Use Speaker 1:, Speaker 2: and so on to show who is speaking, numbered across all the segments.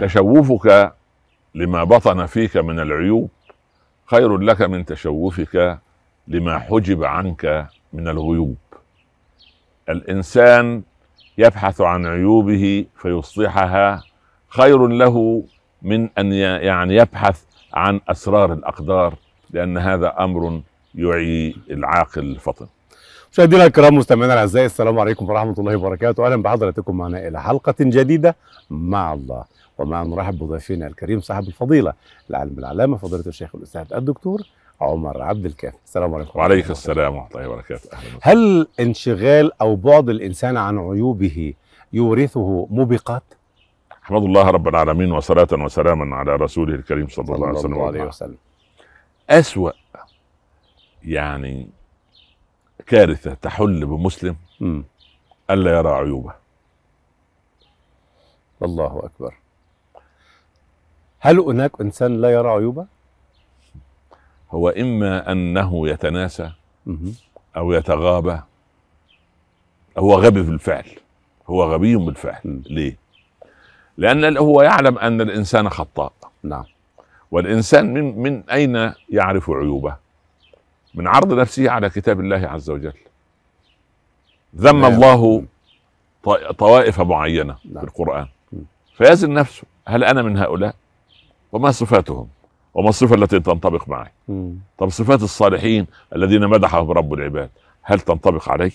Speaker 1: تشوفك لما بطن فيك من العيوب خير لك من تشوفك لما حجب عنك من الغيوب الانسان يبحث عن عيوبه فيصلحها خير له من ان ي- يعني يبحث عن اسرار الاقدار لان هذا امر يعي العاقل الفطن
Speaker 2: مشاهدينا الكرام مستمعينا الاعزاء السلام عليكم ورحمه الله وبركاته اهلا بحضراتكم معنا الى حلقه جديده مع الله ومع نرحب بضيفنا الكريم صاحب الفضيله العالم العلامه فضيله الشيخ الاستاذ الدكتور عمر عبد الكافي السلام عليكم
Speaker 1: وعليك السلام ورحمه الله وبركاته اهلا وسهلا.
Speaker 2: هل انشغال او بعد الانسان عن عيوبه يورثه موبقات
Speaker 1: احمد الله رب العالمين وصلاه وسلاما على رسوله الكريم صلى الله عليه وسلم
Speaker 2: عليه وسلم
Speaker 1: أسوأ يعني كارثة تحل بمسلم
Speaker 2: امم
Speaker 1: ألا يرى عيوبه
Speaker 2: الله اكبر هل هناك انسان لا يرى عيوبه؟
Speaker 1: هو إما أنه يتناسى
Speaker 2: مهم.
Speaker 1: أو يتغابى هو غبي بالفعل هو غبي بالفعل
Speaker 2: مم.
Speaker 1: ليه؟ لأن ال- هو يعلم أن الإنسان خطاء
Speaker 2: نعم
Speaker 1: والإنسان من من أين يعرف عيوبه؟ من عرض نفسه على كتاب الله عز وجل ذم
Speaker 2: نعم.
Speaker 1: الله ط- طوائف معينة في
Speaker 2: نعم.
Speaker 1: القرآن
Speaker 2: مم.
Speaker 1: فيزن نفسه هل أنا من هؤلاء وما صفاتهم وما الصفة التي تنطبق معي
Speaker 2: مم.
Speaker 1: طب صفات الصالحين الذين مدحهم رب العباد هل تنطبق علي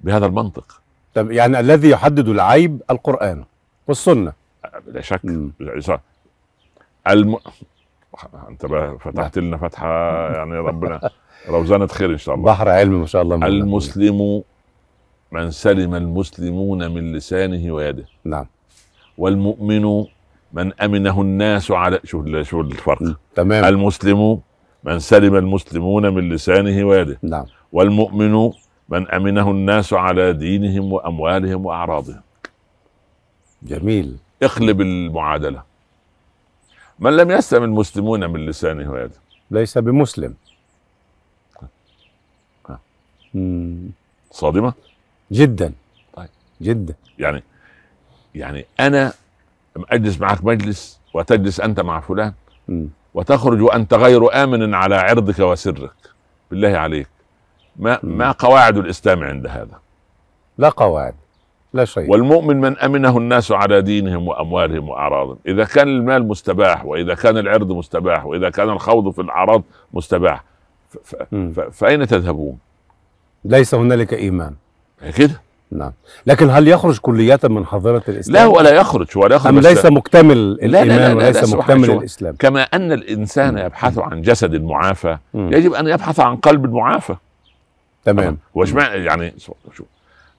Speaker 1: بهذا المنطق
Speaker 2: طب يعني الذي يحدد العيب القرآن والسنة
Speaker 1: لا شك
Speaker 2: مم.
Speaker 1: الم... انت بقى فتحت لنا فتحه يعني ربنا روزانه خير ان شاء الله
Speaker 2: بحر علم ما شاء الله من الله.
Speaker 1: المسلم من سلم المسلمون من لسانه ويده
Speaker 2: نعم
Speaker 1: والمؤمن من امنه الناس على شوف شوف الفرق
Speaker 2: تمام
Speaker 1: المسلم من سلم المسلمون من لسانه ويده
Speaker 2: نعم
Speaker 1: والمؤمن من امنه الناس على دينهم واموالهم واعراضهم
Speaker 2: جميل
Speaker 1: اقلب المعادله من لم يسلم المسلمون من لسانه ويده
Speaker 2: ليس بمسلم
Speaker 1: آه.
Speaker 2: مم.
Speaker 1: صادمه
Speaker 2: جدا
Speaker 1: طيب.
Speaker 2: جدا
Speaker 1: يعني يعني انا اجلس معك مجلس وتجلس انت مع فلان
Speaker 2: مم.
Speaker 1: وتخرج وانت غير امن على عرضك وسرك بالله عليك ما
Speaker 2: مم.
Speaker 1: ما قواعد الاسلام عند هذا
Speaker 2: لا قواعد لا شيء
Speaker 1: والمؤمن من امنه الناس على دينهم واموالهم واعراضهم اذا كان المال مستباح واذا كان العرض مستباح واذا كان الخوض في الاعراض مستباح ف- ف-
Speaker 2: مم.
Speaker 1: ف- فاين تذهبون
Speaker 2: ليس هنالك إيمان
Speaker 1: كده
Speaker 2: نعم لكن هل يخرج كلية من حظيرة الإسلام
Speaker 1: لا ولا يخرج ولا يخرج
Speaker 2: أم
Speaker 1: بس-
Speaker 2: ليس مكتمل
Speaker 1: لا لا
Speaker 2: الإيمان
Speaker 1: لا لا،
Speaker 2: وليس
Speaker 1: سبحان
Speaker 2: مكتمل
Speaker 1: الله.
Speaker 2: الإسلام
Speaker 1: كما ان الانسان
Speaker 2: مم.
Speaker 1: يبحث عن جسد معافى
Speaker 2: مم.
Speaker 1: يجب ان يبحث عن قلب معافى
Speaker 2: تمام
Speaker 1: وش معنى يعني شو- شو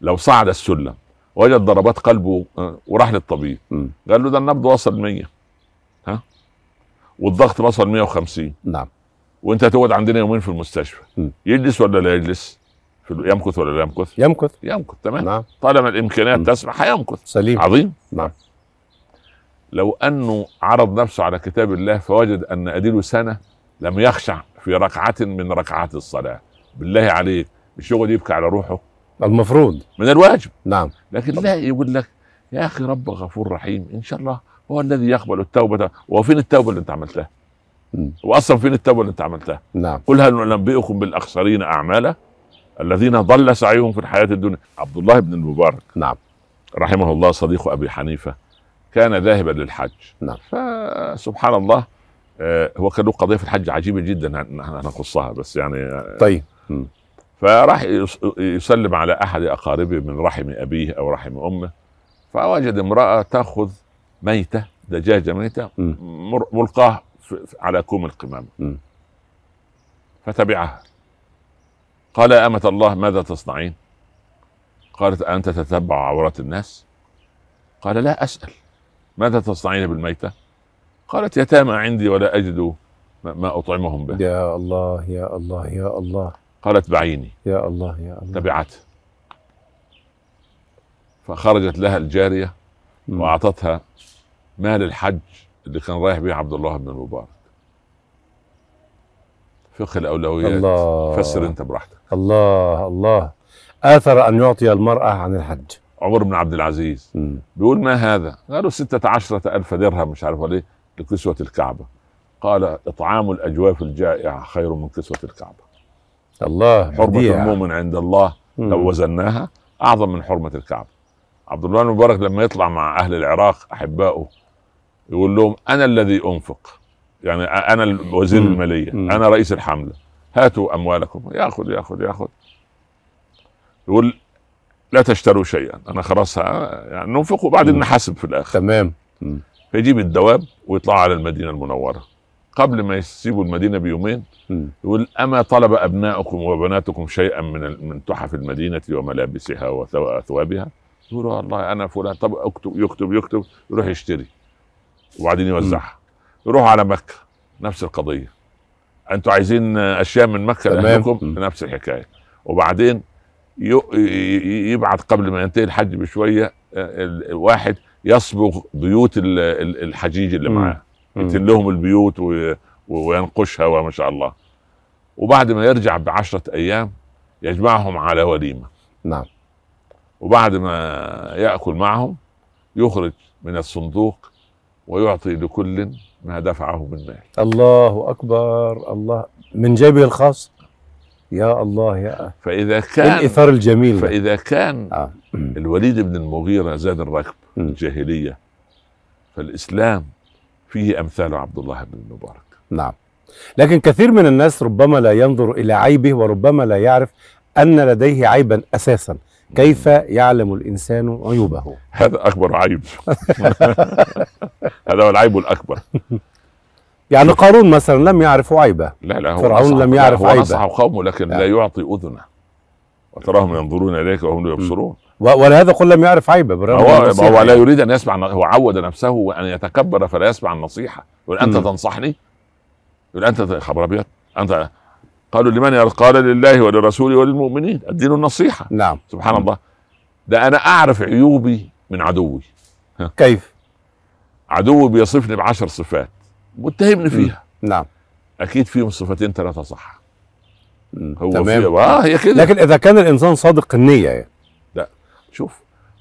Speaker 1: لو صعد السلم وجد ضربات قلبه آه، وراح للطبيب
Speaker 2: مم.
Speaker 1: قال له ده النبض وصل 100 ها والضغط وصل 150
Speaker 2: نعم
Speaker 1: وانت هتقعد عندنا يومين في المستشفى
Speaker 2: مم.
Speaker 1: يجلس ولا لا يجلس في ال- يمكث ولا لا يمكث
Speaker 2: يمكث
Speaker 1: يمكث تمام
Speaker 2: نعم
Speaker 1: طالما الامكانيات
Speaker 2: مم.
Speaker 1: تسمح هيمكث
Speaker 2: سليم
Speaker 1: عظيم
Speaker 2: نعم
Speaker 1: لو انه عرض نفسه على كتاب الله فوجد ان اديله سنه لم يخشع في ركعه من ركعات الصلاه بالله عليك مش يقعد يبكي على روحه
Speaker 2: المفروض
Speaker 1: من الواجب
Speaker 2: نعم
Speaker 1: لكن لا يقول لك يا اخي رب غفور رحيم ان شاء الله هو الذي يقبل التوبه وفين التوبه اللي انت عملتها؟
Speaker 2: مم.
Speaker 1: واصلا فين التوبه اللي انت عملتها؟
Speaker 2: نعم
Speaker 1: قل هل ننبئكم بالاخسرين اعمالا الذين ضل سعيهم في الحياه الدنيا عبد الله بن المبارك
Speaker 2: نعم
Speaker 1: رحمه الله صديق ابي حنيفه كان ذاهبا للحج
Speaker 2: نعم.
Speaker 1: فسبحان الله آه، هو كان له قضيه في الحج عجيبه جدا هن- هنقصها بس يعني
Speaker 2: طيب
Speaker 1: فراح يس- يسلم على احد اقاربه من رحم ابيه او رحم امه فوجد امراه تاخذ ميته دجاجه ميته
Speaker 2: مم.
Speaker 1: مر- ملقاه في- في- على كوم القمامه
Speaker 2: مم.
Speaker 1: فتبعها قال يا امه الله ماذا تصنعين؟ قالت انت تتبع عورات الناس؟ قال لا اسال ماذا تصنعين بالميته؟ قالت يتامى عندي ولا اجد ما- ما اطعمهم به
Speaker 2: يا الله يا الله يا الله
Speaker 1: قالت بعيني
Speaker 2: يا الله يا الله
Speaker 1: تبعته فخرجت لها الجارية
Speaker 2: مم.
Speaker 1: وأعطتها مال الحج اللي كان رايح به عبد الله بن المبارك فقه الأولويات
Speaker 2: الله
Speaker 1: فسر أنت براحتك
Speaker 2: الله الله آثر أن يعطي المرأة عن الحج
Speaker 1: عمر بن عبد العزيز
Speaker 2: مم.
Speaker 1: بيقول ما هذا قالوا ستة عشرة ألف درهم مش عارف ليه لكسوة الكعبة قال إطعام الأجواف الجائعة خير من كسوة الكعبة
Speaker 2: الله
Speaker 1: حرمة
Speaker 2: بديع.
Speaker 1: المؤمن عند الله
Speaker 2: مم.
Speaker 1: لو وزناها أعظم من حرمة الكعبة عبد الله المبارك لما يطلع مع أهل العراق أحبائه يقول لهم أنا الذي أنفق يعني أ- أنا وزير
Speaker 2: مم.
Speaker 1: المالية
Speaker 2: مم.
Speaker 1: أنا رئيس الحملة هاتوا أموالكم يأخذ يأخذ يأخذ يقول لا تشتروا شيئا أنا خلاص ه- يعني ننفقه بعدين
Speaker 2: مم.
Speaker 1: نحاسب في الآخر
Speaker 2: تمام
Speaker 1: فيجيب الدواب ويطلع على المدينة المنورة قبل ما يسيبوا المدينة بيومين
Speaker 2: مم.
Speaker 1: يقول اما طلب ابناؤكم وبناتكم شيئا من ال- من تحف المدينه وملابسها وثو- واثوابها يقولوا والله انا فلان طب اكتب يكتب يكتب يروح يشتري وبعدين يوزعها يروح على مكه نفس القضيه انتوا عايزين اشياء من مكه
Speaker 2: تمام.
Speaker 1: لاهلكم
Speaker 2: مم.
Speaker 1: نفس الحكايه وبعدين ي- ي- يبعت قبل ما ينتهي الحج بشويه آه، ال- الواحد يصبغ بيوت ال- ال- الحجيج اللي
Speaker 2: مم.
Speaker 1: معاه
Speaker 2: مم.
Speaker 1: يتم لهم البيوت و... و- وينقشها وما شاء الله وبعد ما يرجع بعشرة أيام يجمعهم على وليمة
Speaker 2: نعم
Speaker 1: وبعد ما يأكل معهم يخرج من الصندوق ويعطي لكل ما دفعه من مال
Speaker 2: الله اكبر الله من جيبه الخاص يا الله يا
Speaker 1: فإذا
Speaker 2: إيه
Speaker 1: كان
Speaker 2: الاثار الجميل ده.
Speaker 1: فإذا كان
Speaker 2: آه.
Speaker 1: الوليد بن المغيرة زاد الركب في
Speaker 2: مم.
Speaker 1: الجاهلية فالإسلام فيه أمثال عبد الله بن المبارك
Speaker 2: نعم لكن كثير من الناس ربما لا ينظر الى عيبه وربما لا يعرف ان لديه عيبا اساسا كيف يعلم الانسان عيوبه
Speaker 1: هذا أكبر عيب هذا هو العيب الأكبر
Speaker 2: يعني قارون مثلا لم يعرف عيبه
Speaker 1: لا لا هو
Speaker 2: فرعون
Speaker 1: نصح-
Speaker 2: لم
Speaker 1: لا،
Speaker 2: يعرف
Speaker 1: هو
Speaker 2: عيبه. آه.
Speaker 1: نصح قومه لكن لا يعطي اذنه وتراهم ينظرون اليك وهم لا يبصرون
Speaker 2: و- ولهذا قل لم يعرف عيبه بالرغم من
Speaker 1: هو
Speaker 2: النصيحة
Speaker 1: هو لا
Speaker 2: يعني.
Speaker 1: يريد ان يسمع هو عود نفسه وان يتكبر فلا يسمع النصيحه يقول انت
Speaker 2: مم.
Speaker 1: تنصحني يقول انت ت- خبر ابيض انت قالوا لمن يا- قال لله ولرسوله وللمؤمنين الدين النصيحه
Speaker 2: نعم
Speaker 1: سبحان الله ده انا اعرف عيوبي من عدوي
Speaker 2: كيف
Speaker 1: عدوي بيصفني بعشر صفات متهمني فيها
Speaker 2: نعم
Speaker 1: اكيد فيهم صفتين ثلاثه صح
Speaker 2: مم.
Speaker 1: هو
Speaker 2: تمام
Speaker 1: فيه- اه هي كده
Speaker 2: لكن اذا كان الانسان صادق النيه يعني
Speaker 1: شوف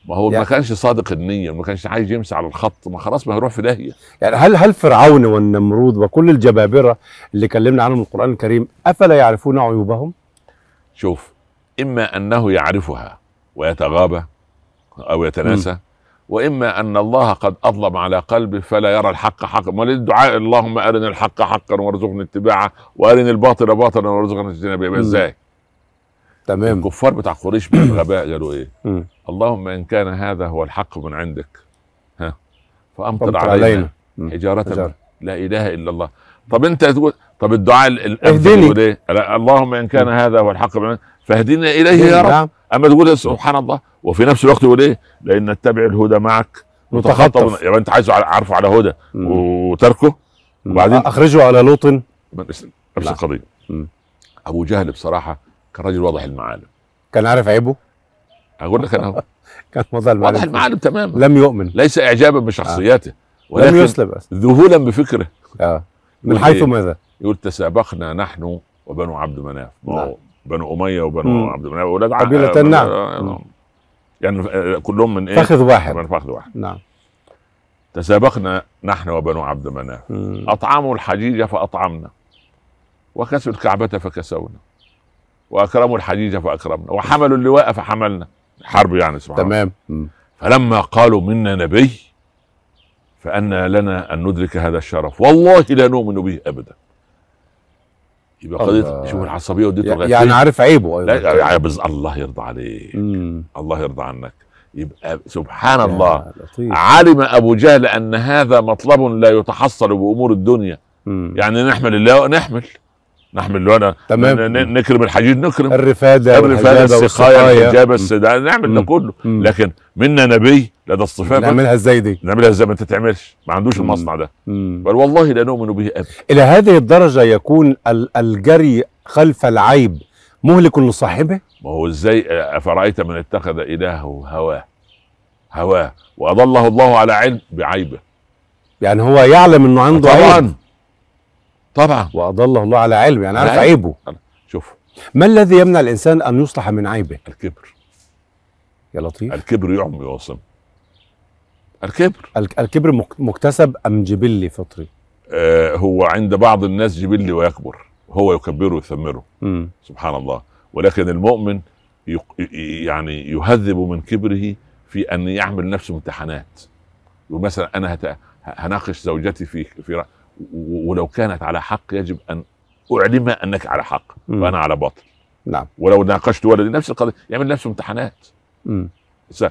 Speaker 1: ما هو ما
Speaker 2: يعني-
Speaker 1: كانش صادق النية ما كانش عايز يمشي على الخط ما خلاص ما هيروح في داهية
Speaker 2: يعني هل هل فرعون والنمرود وكل الجبابره اللي كلمنا عنهم القران الكريم افلا يعرفون عيوبهم؟
Speaker 1: شوف إما أنه يعرفها ويتغابى أو يتناسى وإما أن الله قد أظلم على قلبه فلا يرى الحق حقا ما الدعاء اللهم أرنا الحق حقا وارزقنا اتباعه وأرنا الباطل باطلا وارزقنا اجتنابه يبقى
Speaker 2: مم.
Speaker 1: إزاي
Speaker 2: تمام
Speaker 1: الكفار بتاع قريش من الغباء قالوا إيه
Speaker 2: مم.
Speaker 1: اللهم إن كان هذا هو الحق من عندك ها فأمطر
Speaker 2: فامطر
Speaker 1: علينا
Speaker 2: علينا مم.
Speaker 1: حجارة
Speaker 2: حجارة.
Speaker 1: من- لا إله إلا الله طب أنت تقول طب الدعاء ال- الأمثل
Speaker 2: اهدني.
Speaker 1: يقول إيه؟ لا، اللهم إن كان هذا هو الحق من عندك فاهدنا إليه إيه يا رب
Speaker 2: نعم
Speaker 1: أما تقول إيه؟ سبحان الله وفي نفس الوقت يقول إيه لأن نتبع الهدى معك
Speaker 2: نتخطف
Speaker 1: يبقى أنت عايزه على- عارفه على هدى
Speaker 2: مم.
Speaker 1: وتركه وبعدين-
Speaker 2: وبعدين اخرجوا على لوط
Speaker 1: من- نفس
Speaker 2: لا.
Speaker 1: القضية
Speaker 2: مم.
Speaker 1: أبو جهل بصراحة كان راجل واضح المعالم
Speaker 2: كان عارف عيبه
Speaker 1: أقول لك أنا أهو،
Speaker 2: كان وضع
Speaker 1: واضح
Speaker 2: المعلم
Speaker 1: المعالم تماما
Speaker 2: لم يؤمن
Speaker 1: ليس إعجابا بشخصيته
Speaker 2: لم
Speaker 1: ولكن
Speaker 2: يسلم أصلاً.
Speaker 1: ذهولا بفكره
Speaker 2: آه. من
Speaker 1: يقول
Speaker 2: حيث
Speaker 1: إيه؟
Speaker 2: ماذا؟
Speaker 1: يقول تسابقنا نحن وبنو عبد مناف ما هو
Speaker 2: نعم.
Speaker 1: بنو اميه وبنو
Speaker 2: مم.
Speaker 1: عبد مناف اولاد ع-
Speaker 2: قبيلة
Speaker 1: آه،
Speaker 2: النعم.
Speaker 1: آه،
Speaker 2: مم.
Speaker 1: يعني آه، كلهم من ايه؟
Speaker 2: فخذ واحد
Speaker 1: من فخذ واحد
Speaker 2: نعم
Speaker 1: تسابقنا نحن وبنو عبد مناف
Speaker 2: مم.
Speaker 1: اطعموا الحجيج فاطعمنا وكسوا الكعبه فكسونا واكرموا الحجيج فاكرمنا وحملوا اللواء فحملنا حرب يعني سبحان الله
Speaker 2: تمام مم.
Speaker 1: فلما قالوا منا نبي فأنا لنا أن ندرك هذا الشرف والله لا نؤمن به أبدا يبقى
Speaker 2: الله.
Speaker 1: قضية شوف العصبية وديته
Speaker 2: يع-
Speaker 1: الغثية
Speaker 2: يعني عارف عيبه
Speaker 1: لا
Speaker 2: ايضا
Speaker 1: يعني بز- الله يرضى عليك
Speaker 2: مم.
Speaker 1: الله يرضى عنك يبقى سبحان
Speaker 2: يا
Speaker 1: الله
Speaker 2: لطيف
Speaker 1: علم أبو جهل أن هذا مطلب لا يتحصل بأمور الدنيا
Speaker 2: مم.
Speaker 1: يعني نحمل الله نحمل نحمل لنا
Speaker 2: تمام.
Speaker 1: نكرم الحجيج نكرم
Speaker 2: الرفاده
Speaker 1: الرفاده
Speaker 2: والهجابة
Speaker 1: السقاية
Speaker 2: والسقاية.
Speaker 1: الحجابة
Speaker 2: مم.
Speaker 1: السدان نعمل ده
Speaker 2: مم.
Speaker 1: كله
Speaker 2: مم.
Speaker 1: لكن منا نبي لدى الصفات
Speaker 2: نعملها ازاي دي؟
Speaker 1: نعملها ازاي ما تتعملش ما عندوش
Speaker 2: مم.
Speaker 1: المصنع ده
Speaker 2: مم.
Speaker 1: بل والله لا نؤمن به ابدا
Speaker 2: الى هذه الدرجه يكون ال- الجري خلف العيب مهلك لصاحبه؟
Speaker 1: ما هو ازاي افرايت من اتخذ الهه هواه هواه واضله الله على علم بعيبه
Speaker 2: يعني هو يعلم انه عنده عيب
Speaker 1: طبعا طبعا
Speaker 2: واضله الله على علم يعني عارف
Speaker 1: على
Speaker 2: عيبه
Speaker 1: شوف
Speaker 2: ما الذي يمنع الانسان ان يصلح من عيبه؟
Speaker 1: الكبر
Speaker 2: يا لطيف
Speaker 1: الكبر يعمي ويصم الكبر
Speaker 2: الك- الكبر مك- مكتسب ام جبلي فطري
Speaker 1: آه هو عند بعض الناس جبلي ويكبر هو يكبره ويثمره
Speaker 2: امم
Speaker 1: سبحان الله ولكن المؤمن يق- ي- يعني يهذب من كبره في ان يعمل نفسه امتحانات يقول مثلا انا هت... هناقش زوجتي في في رأ- و- ولو كانت على حق يجب ان اعلمها انك على حق
Speaker 2: مم.
Speaker 1: وانا على باطل
Speaker 2: نعم
Speaker 1: ولو ناقشت ولدي نفس القضيه يعمل نفسه امتحانات
Speaker 2: امم
Speaker 1: س-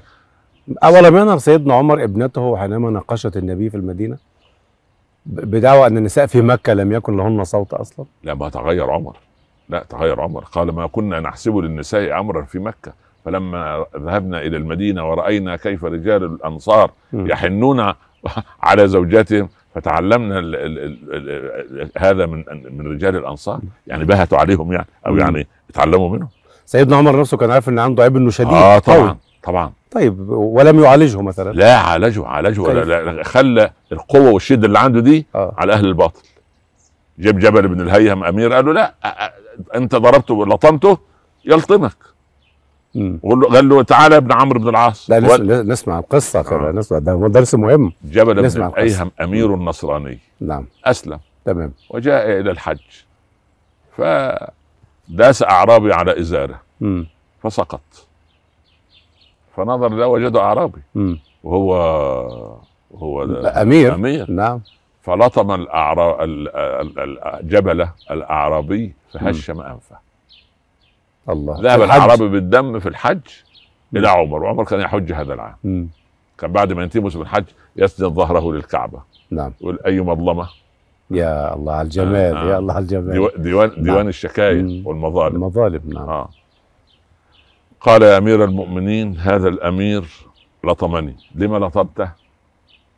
Speaker 2: أولم ينهر سيدنا عمر ابنته حينما ناقشت النبي في المدينة ب- بدعوى أن النساء في مكة لم يكن لهن صوت أصلا
Speaker 1: لا ما تغير عمر لا تغير عمر قال ما كنا نحسب للنساء امرا في مكه فلما ذهبنا الى المدينه وراينا كيف رجال الانصار
Speaker 2: مم.
Speaker 1: يحنون على زوجاتهم فتعلمنا ال ال ال ال ال هذا من من رجال الانصار يعني بهتوا عليهم يعني او
Speaker 2: مم.
Speaker 1: يعني اتعلموا منهم
Speaker 2: سيدنا عمر نفسه كان عارف أن عنده عيب أنه شديد
Speaker 1: اه
Speaker 2: قوي.
Speaker 1: طبعا طبعا
Speaker 2: طيب ولم يعالجه مثلا
Speaker 1: لا عالجوا عالجوا
Speaker 2: كيف؟
Speaker 1: ولا لا لا خلى القوه والشده اللي عنده دي
Speaker 2: آه.
Speaker 1: على اهل الباطل جاب جبل بن الهيهم امير قال له لا أ- أ- انت ضربته لطمته يلطمك
Speaker 2: مم.
Speaker 1: وقال له قال له تعالى يا ابن عمرو بن العاص
Speaker 2: لا نس-
Speaker 1: وقال
Speaker 2: نس- نسمع القصة كده
Speaker 1: آه.
Speaker 2: نسمع ده هو درس مهم
Speaker 1: جبل بن
Speaker 2: نسمع القصة.
Speaker 1: الايهم امير نصراني
Speaker 2: نعم
Speaker 1: اسلم
Speaker 2: تمام
Speaker 1: وجاء الى الحج فداس اعرابي على ازاره
Speaker 2: مم.
Speaker 1: فسقط فنظر لا وجد اعرابي
Speaker 2: مم.
Speaker 1: وهو هو
Speaker 2: أمير
Speaker 1: امير
Speaker 2: نعم
Speaker 1: فلطم الأعرا... ال- ال- ال- الجبل الأعرابي فهشم أنفه
Speaker 2: الله
Speaker 1: ذهب
Speaker 2: الحج.
Speaker 1: الأعرابي بالدم في الحج
Speaker 2: مم.
Speaker 1: إلى عمر وعمر كان يحج هذا العام
Speaker 2: مم.
Speaker 1: كان بعد ما ينتهي موسم الحج يسند ظهره للكعبة
Speaker 2: نعم
Speaker 1: يقول أي مظلمة
Speaker 2: يا الله على الجمال
Speaker 1: آه.
Speaker 2: يا الله على الجمال
Speaker 1: ديو- ديوان, ديوان
Speaker 2: نعم. مم.
Speaker 1: الشكاية والمظالم
Speaker 2: المظالم نعم
Speaker 1: آه. قال يا أمير المؤمنين هذا الأمير لطمني لما لطمته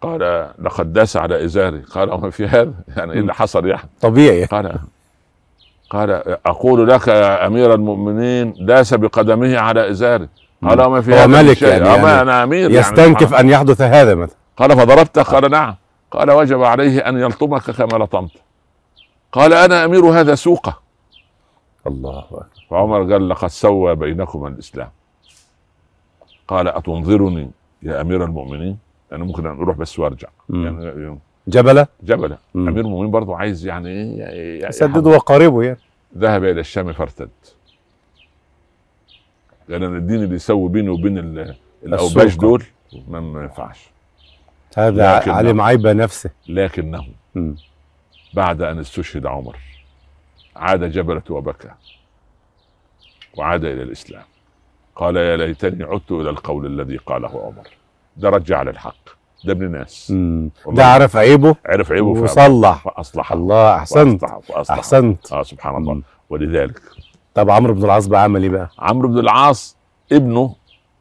Speaker 1: قال لقد داس على إزاري قال وما في هذا يعني إيه اللي حصل يعني
Speaker 2: طبيعي
Speaker 1: قال قال أقول لك يا أمير المؤمنين داس بقدمه على إزاره قال
Speaker 2: مم.
Speaker 1: وما في
Speaker 2: هو
Speaker 1: هذا من
Speaker 2: ملك
Speaker 1: شيء.
Speaker 2: يعني-
Speaker 1: أما
Speaker 2: يعني
Speaker 1: أنا أمير
Speaker 2: يستنكف
Speaker 1: يعني
Speaker 2: أن يحدث هذا مثلا
Speaker 1: قال فضربته قال نعم قال وجب عليه أن يلطمك كما لطمت قال أنا أمير هذا سوقه
Speaker 2: الله أكبر
Speaker 1: فعمر قال لقد سوى بينكما الإسلام قال أتنظرني يا أمير المؤمنين أنا ممكن أن أروح بس وأرجع
Speaker 2: مم.
Speaker 1: يعني
Speaker 2: جبلة
Speaker 1: جبلة
Speaker 2: مم.
Speaker 1: أمير المؤمنين برضه عايز يعني إيه
Speaker 2: سدد وقاربه يعني
Speaker 1: ذهب الى الشام فارتد لان أنا الدين اللي يسوي بيني وبين ال- الاوباش
Speaker 2: السوق.
Speaker 1: دول ما ما ينفعش
Speaker 2: هذا
Speaker 1: لكن- آه.
Speaker 2: علم عيب نفسه
Speaker 1: لكنه
Speaker 2: مم.
Speaker 1: بعد ان استشهد عمر عاد جبلة وبكى وعاد الى الاسلام قال يا ليتني عدت الى القول الذي قاله عمر ده رجع للحق ده ابن ناس
Speaker 2: مم.
Speaker 1: والله.
Speaker 2: ده عرف عيبه
Speaker 1: عرف عيبه فأب-
Speaker 2: وصلح
Speaker 1: فاصلحه
Speaker 2: الله احسنت
Speaker 1: وأصلحه- وأصلحه.
Speaker 2: احسنت
Speaker 1: اه سبحان
Speaker 2: مم.
Speaker 1: الله ولذلك
Speaker 2: طب عمرو بن العاص بقى عمل ايه بقى؟
Speaker 1: عمرو بن العاص ابنه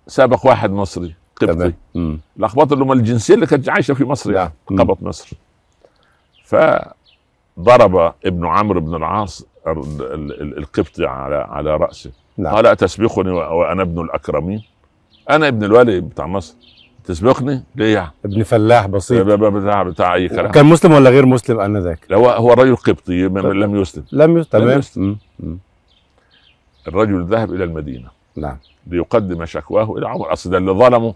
Speaker 1: سبق واحد مصري قبطي
Speaker 2: مم.
Speaker 1: لخبطه اللي هم الجنسيه اللي كانت عايشه في مصر يعني
Speaker 2: مم.
Speaker 1: قبط مصر فضرب ابن عمرو بن العاص ال- ال- ال- القبطي على على راسه
Speaker 2: نعم.
Speaker 1: قال أتسبقني وأ- وانا ابن الاكرمين انا ابن الولي بتاع مصر تسبقني ليه يعني؟
Speaker 2: ابن فلاح بسيط
Speaker 1: ب- ب- بتاع بتاع اي كلام
Speaker 2: كان مسلم ولا غير مسلم انذاك؟
Speaker 1: هو هو الرجل قبطي م- لم يسلم
Speaker 2: لم يس
Speaker 1: لم
Speaker 2: تمام
Speaker 1: يسلم.
Speaker 2: مم. مم.
Speaker 1: الرجل ذهب الى المدينه
Speaker 2: نعم
Speaker 1: ليقدم شكواه الى عمر اصل ده اللي ظلمه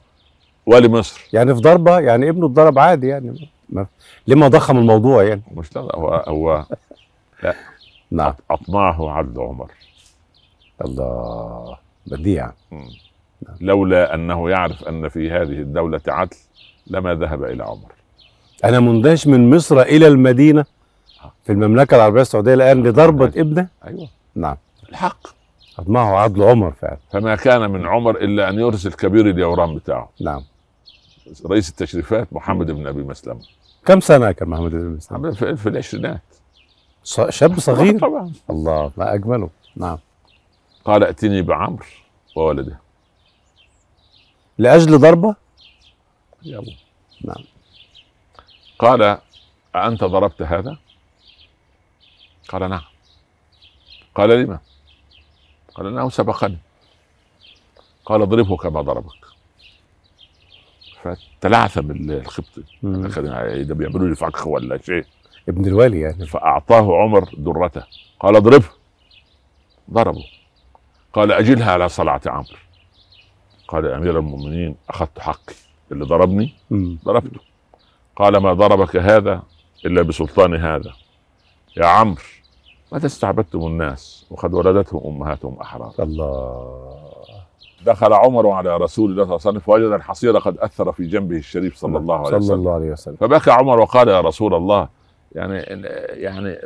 Speaker 1: والي مصر
Speaker 2: يعني في ضربه يعني ابنه اتضرب عادي يعني ما. لما ضخم الموضوع يعني
Speaker 1: مش لا لا، هو هو
Speaker 2: نعم
Speaker 1: اطمعه عبد عمر
Speaker 2: الله بديع
Speaker 1: مم. لولا انه يعرف ان في هذه الدوله عدل لما ذهب الى عمر
Speaker 2: انا مندهش من مصر الى المدينه في المملكه العربيه السعوديه الان
Speaker 1: آه،
Speaker 2: لضربه ابنه
Speaker 1: ايوه
Speaker 2: نعم
Speaker 1: الحق
Speaker 2: اطمعه عدل عمر فعلا
Speaker 1: فما كان من عمر الا ان يرسل كبير اليوران بتاعه
Speaker 2: نعم
Speaker 1: رئيس التشريفات محمد بن ابي مسلمه
Speaker 2: كم سنه كان محمد بن مسلم؟
Speaker 1: عمل في, في العشرينات
Speaker 2: ص- شاب صغير
Speaker 1: طبعا
Speaker 2: الله ما اجمله نعم
Speaker 1: قال ائتني بعمرو وولده
Speaker 2: لاجل ضربه
Speaker 1: يا أبو.
Speaker 2: نعم.
Speaker 1: قال أأنت ضربت هذا؟ قال نعم قال لما؟ قال أنه سبقني قال اضربه كما ضربك فتلعثم ال- الخبطي
Speaker 2: مم.
Speaker 1: كان يعني ده بيعملوا لي فخ ولا شيء
Speaker 2: ابن الولي يعني
Speaker 1: فأعطاه عمر درته قال اضربه ضربه قال أجلها على صلعة عمرو قال يا امير المؤمنين اخذت حقي اللي ضربني
Speaker 2: مم.
Speaker 1: ضربته قال ما ضربك هذا الا بسلطان هذا يا عمرو متى استعبدتم الناس وقد ولدتهم امهاتهم احرارا
Speaker 2: الله
Speaker 1: دخل عمر على رسول الله صلى الله عليه وسلم فوجد الحصير قد اثر في جنبه الشريف صلى الله عليه
Speaker 2: صلى
Speaker 1: وسلم
Speaker 2: الله عليه وسلم
Speaker 1: فبكى عمر وقال يا رسول الله يعني يعني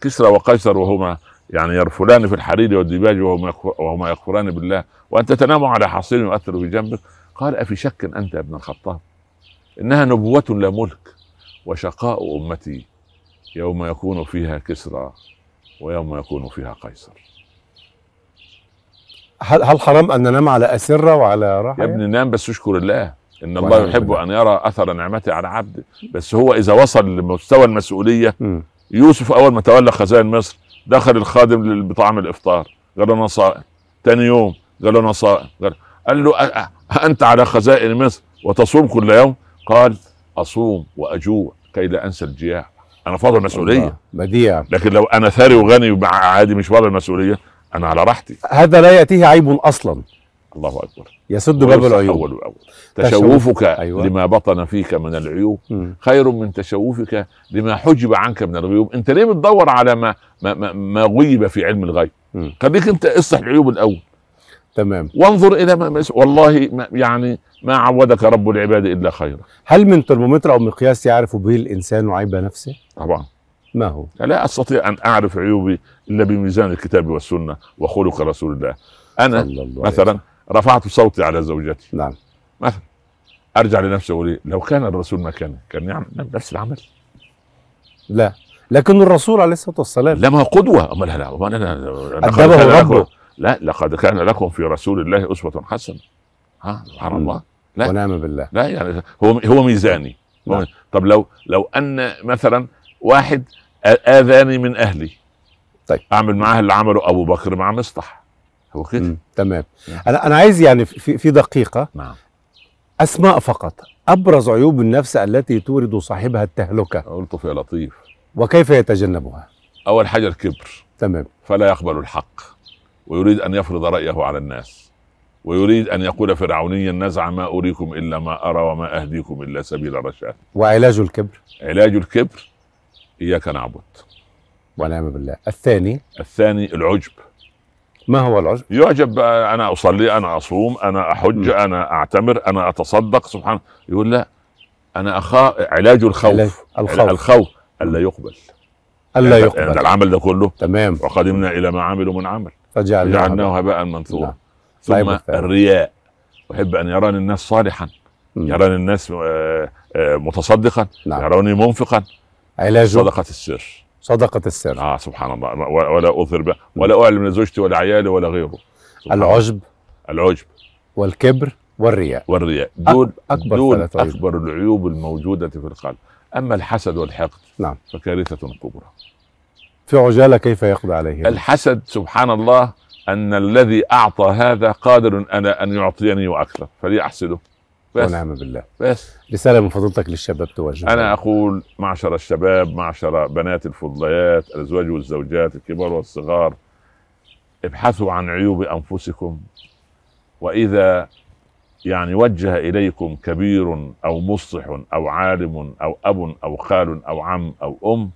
Speaker 1: كسرى وقيصر وهما يعني يرفلان في الحرير والديباج وهما يكفر- وهما يكفران بالله وانت تنام على حصير يؤثر في جنبك قال افي شك انت يا ابن الخطاب انها نبوه لا ملك وشقاء امتي يوم يكون فيها كسرى ويوم يكون فيها قيصر
Speaker 2: هل هل حرام ان ننام على اسره وعلى راحه؟
Speaker 1: يا ابني نام بس اشكر الله ان
Speaker 2: ونعم
Speaker 1: الله يحب
Speaker 2: بالله.
Speaker 1: ان يرى اثر نعمته على عبده بس هو اذا وصل لمستوى المسؤوليه
Speaker 2: مم.
Speaker 1: يوسف اول ما تولى خزائن مصر دخل الخادم لل- بطعام الافطار قال له نصائم تاني يوم قال له نصائم قال, قال له أ- أ- انت على خزائن مصر وتصوم كل يوم قال اصوم واجوع كي لا انسى الجياع انا فاضل مسؤوليه
Speaker 2: الله. بديع
Speaker 1: لكن لو انا ثري وغني ومع عادي مش فاضل مسؤوليه انا على راحتي
Speaker 2: هذا لا ياتيه عيب اصلا
Speaker 1: الله اكبر
Speaker 2: يسد باب العيوب
Speaker 1: اول واول
Speaker 2: تشوف.
Speaker 1: تشوفك
Speaker 2: أيوة.
Speaker 1: لما بطن فيك من العيوب
Speaker 2: مم.
Speaker 1: خير من تشوفك لما حجب عنك من الغيوب انت ليه بتدور على ما ما, ما, ما غيب في علم الغيب
Speaker 2: مم.
Speaker 1: خليك انت اصلح العيوب الاول
Speaker 2: تمام
Speaker 1: وانظر الى ما ما- والله ما يعني ما عودك رب العباد الا خيرا
Speaker 2: هل من ترمومتر او مقياس يعرف به الانسان عيب نفسه؟
Speaker 1: طبعا
Speaker 2: ما هو؟
Speaker 1: لا استطيع ان اعرف عيوبي الا بميزان الكتاب والسنه وخلق رسول الله انا
Speaker 2: صلى الله عليه وسلم.
Speaker 1: مثلا رفعت صوتي على زوجتي
Speaker 2: نعم
Speaker 1: ارجع لنفسي اقول إيه؟ لو كان الرسول مكاني كان يعمل نفس العمل
Speaker 2: لا لكن الرسول عليه الصلاه والسلام
Speaker 1: لا ما هو قدوه امال لا امال انا لقد
Speaker 2: أدبه
Speaker 1: كان لكم-
Speaker 2: ربه.
Speaker 1: لا لقد كان لكم في رسول الله اسوه حسنه ها سبحان
Speaker 2: مم.
Speaker 1: الله لا.
Speaker 2: ونعم بالله
Speaker 1: لا يعني هو هو ميزاني هو-
Speaker 2: نعم.
Speaker 1: طب لو لو ان مثلا واحد آ- اذاني من اهلي
Speaker 2: طيب.
Speaker 1: اعمل معاه اللي عمله ابو بكر مع مصطح هو كده
Speaker 2: مم. تمام
Speaker 1: نعم.
Speaker 2: انا انا عايز يعني في في دقيقه
Speaker 1: نعم
Speaker 2: اسماء فقط ابرز عيوب النفس التي تورد صاحبها التهلكه
Speaker 1: قلت يا لطيف
Speaker 2: وكيف يتجنبها
Speaker 1: اول حاجه الكبر
Speaker 2: تمام
Speaker 1: فلا يقبل الحق ويريد ان يفرض رايه على الناس ويريد ان يقول فرعونيا نزع ما اريكم الا ما ارى وما اهديكم الا سبيل الرشاد
Speaker 2: وعلاج الكبر
Speaker 1: علاج الكبر اياك نعبد
Speaker 2: ونعم بالله الثاني
Speaker 1: الثاني العجب
Speaker 2: ما هو العجب
Speaker 1: يعجب بقى انا اصلي انا اصوم انا احج
Speaker 2: م.
Speaker 1: انا اعتمر انا اتصدق سبحان يقول لا انا اخاف علاج
Speaker 2: علاج
Speaker 1: الخوف
Speaker 2: الخوف.
Speaker 1: الخوف الا يقبل
Speaker 2: الا
Speaker 1: يعني
Speaker 2: يقبل
Speaker 1: العمل ده كله
Speaker 2: تمام
Speaker 1: وقدمنا الى ما عملوا من عمل
Speaker 2: فجعلناه
Speaker 1: جعلناه هباء منثورا
Speaker 2: نعم. صعيب
Speaker 1: ثم
Speaker 2: الثاني.
Speaker 1: الرياء احب ان يراني الناس صالحا
Speaker 2: نعم. مم.
Speaker 1: يراني الناس آه، آه، متصدقا
Speaker 2: نعم.
Speaker 1: يروني منفقا
Speaker 2: علاج
Speaker 1: صدقه السر
Speaker 2: صدقه السر
Speaker 1: اه سبحان الله و- ولا اثر به ولا اعلم لزوجتي ولا عيالي ولا غيره سبحان الله.
Speaker 2: العجب
Speaker 1: العجب
Speaker 2: والكبر والرياء
Speaker 1: والرياء دول
Speaker 2: أكبر
Speaker 1: دول
Speaker 2: ثلاث عيوب.
Speaker 1: اكبر العيوب الموجوده في القلب اما الحسد والحقد
Speaker 2: نعم.
Speaker 1: فكارثه كبرى
Speaker 2: في عجاله كيف يقضي عليه
Speaker 1: الحسد سبحان الله ان الذي اعطى هذا قادر انا ان يعطيني واكثر فلي احسده بس
Speaker 2: ونعم بالله
Speaker 1: بس
Speaker 2: رساله من فضيلتك للشباب توجهها
Speaker 1: انا اقول معشر الشباب معشر بنات الفضليات الازواج والزوجات الكبار والصغار ابحثوا عن عيوب انفسكم واذا يعني وجه اليكم كبير او مصلح او عالم او اب او خال او عم او ام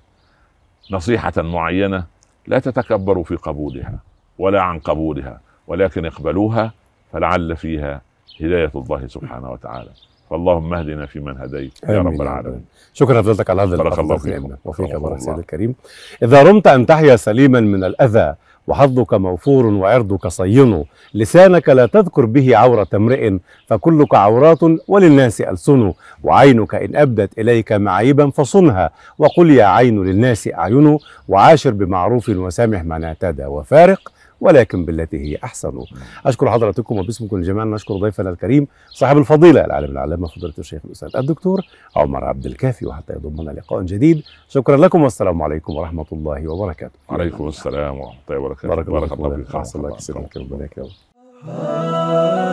Speaker 1: نصيحه معينه لا تتكبروا في قبولها ولا عن قبولها ولكن اقبلوها فلعل فيها هدايه الله سبحانه وتعالى فاللهم اهدنا فيمن هديت يا
Speaker 2: آمين
Speaker 1: رب
Speaker 2: يا
Speaker 1: العالمين
Speaker 2: رب. شكرا لفضلتك على هذا
Speaker 1: بارك
Speaker 2: الحديث
Speaker 1: الله
Speaker 2: العظيم.
Speaker 1: فيكم.
Speaker 2: وفيك
Speaker 1: بارك
Speaker 2: بارك
Speaker 1: الله.
Speaker 2: سيدي الكريم إذا رمت أن تحيا سليما من الأذى وحظك موفور وعرضك صين لسانك لا تذكر به عورة امرئ فكلك عورات وللناس ألسن وعينك إن أبدت إليك معيبا فصنها وقل يا عين للناس أعين وعاشر بمعروف وسامح من اعتدى وفارق ولكن بالتي هي أحسن أشكر حضراتكم وباسمكم الجميع نشكر ضيفنا الكريم صاحب الفضيلة العالم العلامة فضيلة الشيخ الأستاذ الدكتور عمر عبد الكافي وحتى يضمنا لقاء جديد شكرا لكم والسلام عليكم ورحمة الله وبركاته
Speaker 1: عليكم السلام ورحمه الله وبركاته
Speaker 2: بارك الله فيك
Speaker 1: رحمه
Speaker 2: أحسن الله
Speaker 1: الله
Speaker 2: كثيرا ربنا يكرمك